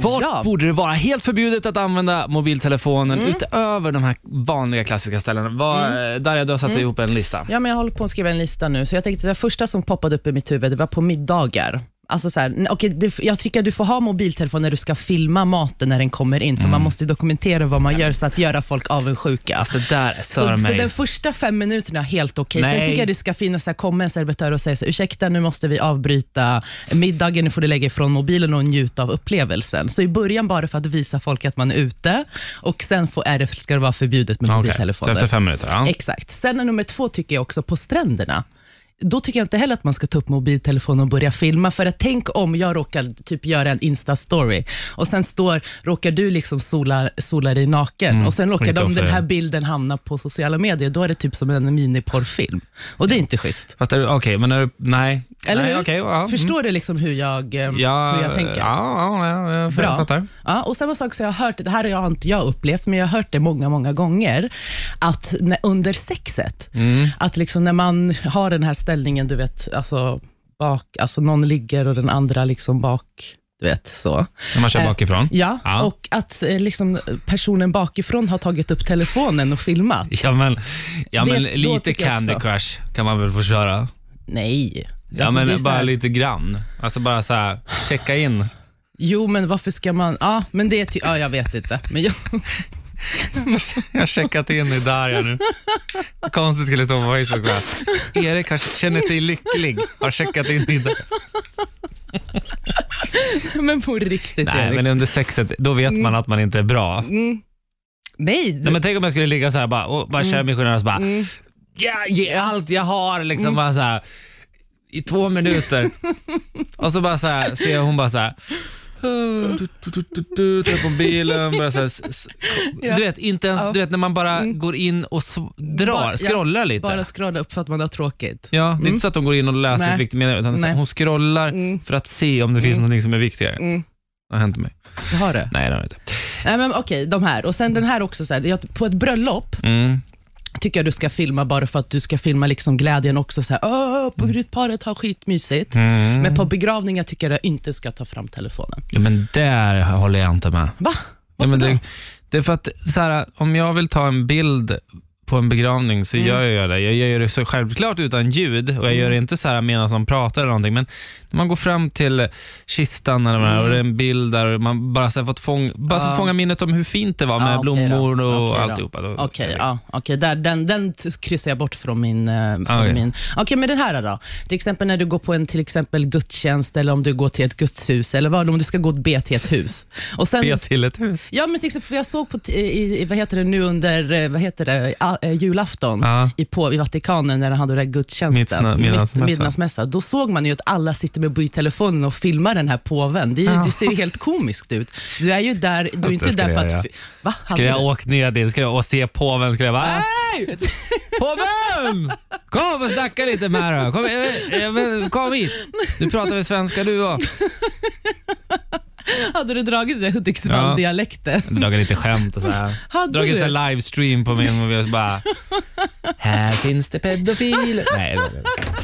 vart Ja. Mm. borde det vara helt förbjudet att använda mobiltelefonen utöver de här vanliga klassiska ställena? Vad, eh, Darja, du har satt ihop en lista. Mm. Ja, men jag håller på att skriva en lista nu, så jag tänkte det första som poppade upp i mitt huvud det var på middagar. Alltså så här, n- okej, det, jag tycker att du får ha mobiltelefon när du ska filma maten när den kommer in, för man måste ju dokumentera vad man gör så att göra folk avundsjuka. Mm. Alltså det där stör Så, så mig. den första fem minuterna är helt okej. Nej. Sen tycker jag det ska finnas, så här, komma en servitör och säga så, här, ursäkta nu måste vi avbryta middagen, nu får du lägga ifrån mobilen och njuta av upplevelsen. Så i början bara för att visa folk att man är ute och sen får, är det, ska det vara förbjudet med Okej, så mobiltelefoner. Efter fem minuter, ja. Exakt. Sen är nummer två tycker jag också på stränderna. Då tycker jag inte heller att man ska ta upp mobiltelefonen och börja filma. För att tänk om jag råkar typ göra en Insta-story och sen står, råkar du liksom sola, sola dig naken Mm. och sen råkar lite de, ofta, den ja. här bilden hamna på sociala medier. Då är det typ som en miniporrfilm. Och det är inte schysst. Fast är du- okej, men är du, nej. Eller nej, hur? okej, ja. Mm. Förstår du liksom hur jag, eh, Ja, hur jag tänker? Ja, ja, ja jag Bra. fattar. Ja, och samma sak som jag har hört, det här har jag inte jag upplevt, men jag har hört det många, många gånger, att när, under sexet, Mm. att liksom när man har den här ställningen, du vet, alltså, bak, alltså någon ligger och den andra liksom bak, du vet så. När man kör Eh, bakifrån. Ja, Ja. och att eh, liksom personen bakifrån har tagit upp telefonen och filmat. Ja, men, ja, Det- men då lite tycker jag Candy också. Crush kan man väl få köra? Nej. Ja, Alltså, det är men så bara här- lite grann. Alltså bara så här, checka in. Jo, men varför ska man... Ja, men det är... Ty- ja, jag vet inte. Men jag, Jag har checkat in i Darja nu. Konstigt skulle det stå på Facebook. va? Erik har, känner sig lycklig, har checkat in i Darja. men på riktigt, Nej, Erik. men under sexet, då vet man att man inte är bra. Mm. Nej, Nej, men tänk om jag skulle ligga så här bara, och bara Mm. köra missionären och så bara, ja, ge allt jag har liksom Mm. bara så här, i två minuter. och så bara så här, ser jag hon bara så här, "Åh, du, du, du, du, du", tar på bilen, bara så här, s- s- Ja. du vet inte ens, Ja. Mm. du vet när man bara går in och sv- drar, Bara- ja, scrollar lite. Bara scrolla upp för att man har tråkigt. Ja, det är inte så att hon går in och läser Mm. Nej. ett viktigt meddelande, utan Nej. hon scrollar Mm. för att se om det finns någonting som är viktigare. Mm. Det har hänt mig. Jag har det. Nej, det har det inte. Nej, men okej, de här. Och sen den här också. Så här, jag, på ett bröllop Mm. tycker jag du ska filma bara för att du ska filma liksom glädjen också. Så här, Åh, brudparet har skitmysigt. Mm. Men på begravningar tycker jag du inte ska ta fram telefonen. Ja, men där håller jag inte med. Va? Ja, Varför men det, då? det är för att så här, om jag vill ta en bild på en begravning Mm. så gör jag det. Jag gör det så självklart utan ljud och jag gör det inte så här medan de pratar eller någonting. Men när man går fram till kistan eller vad det är, och det är en bild där och man bara så här fått fång, bara så Mm. Ja. fånga minnet om hur fint det var med Ja, okej då. blommor och Okej då. alltihopa. Då- Okej, ja, okej. där, den, den t- kryssar jag bort från min... eh, Från Ah, Okej. min. Okej, men den här då? Till exempel när du går på en till exempel gudstjänst eller om du går till ett gudshus eller vad, om du ska gå och be till ett hus. Och sen, Be till ett hus. Ja, men till exempel, för jag såg på, t- i, i, vad heter det nu under eh, vad heter det, a, eh, julafton Ja. i, på, i Vatikanen när han hade den där gudstjänsten, Midna- mitt- midnattsmässa. midnattsmässa. Då såg man ju att alla sitter med mobiltelefonen och filmar den här påven. Det, är ju, det ser ju helt komiskt ut. Du är ju där, du är det inte där skulle för jag att... göra. fi- Va? Skulle jag Hade åkt ner dit skulle jag, och se påven skulle jag bara Hej! Påven! Kom och snacka lite med här då. Kom, eh, eh, men kom hit. Nu pratar vi svenska du och. du- Hade du dragit den där Hudiksvall-dialekten? Jag dragit lite skämt och sådär. Hade Dragit du? så här livestream på min mobil och så bara Här finns det pedofiler. Nej, nej, nej.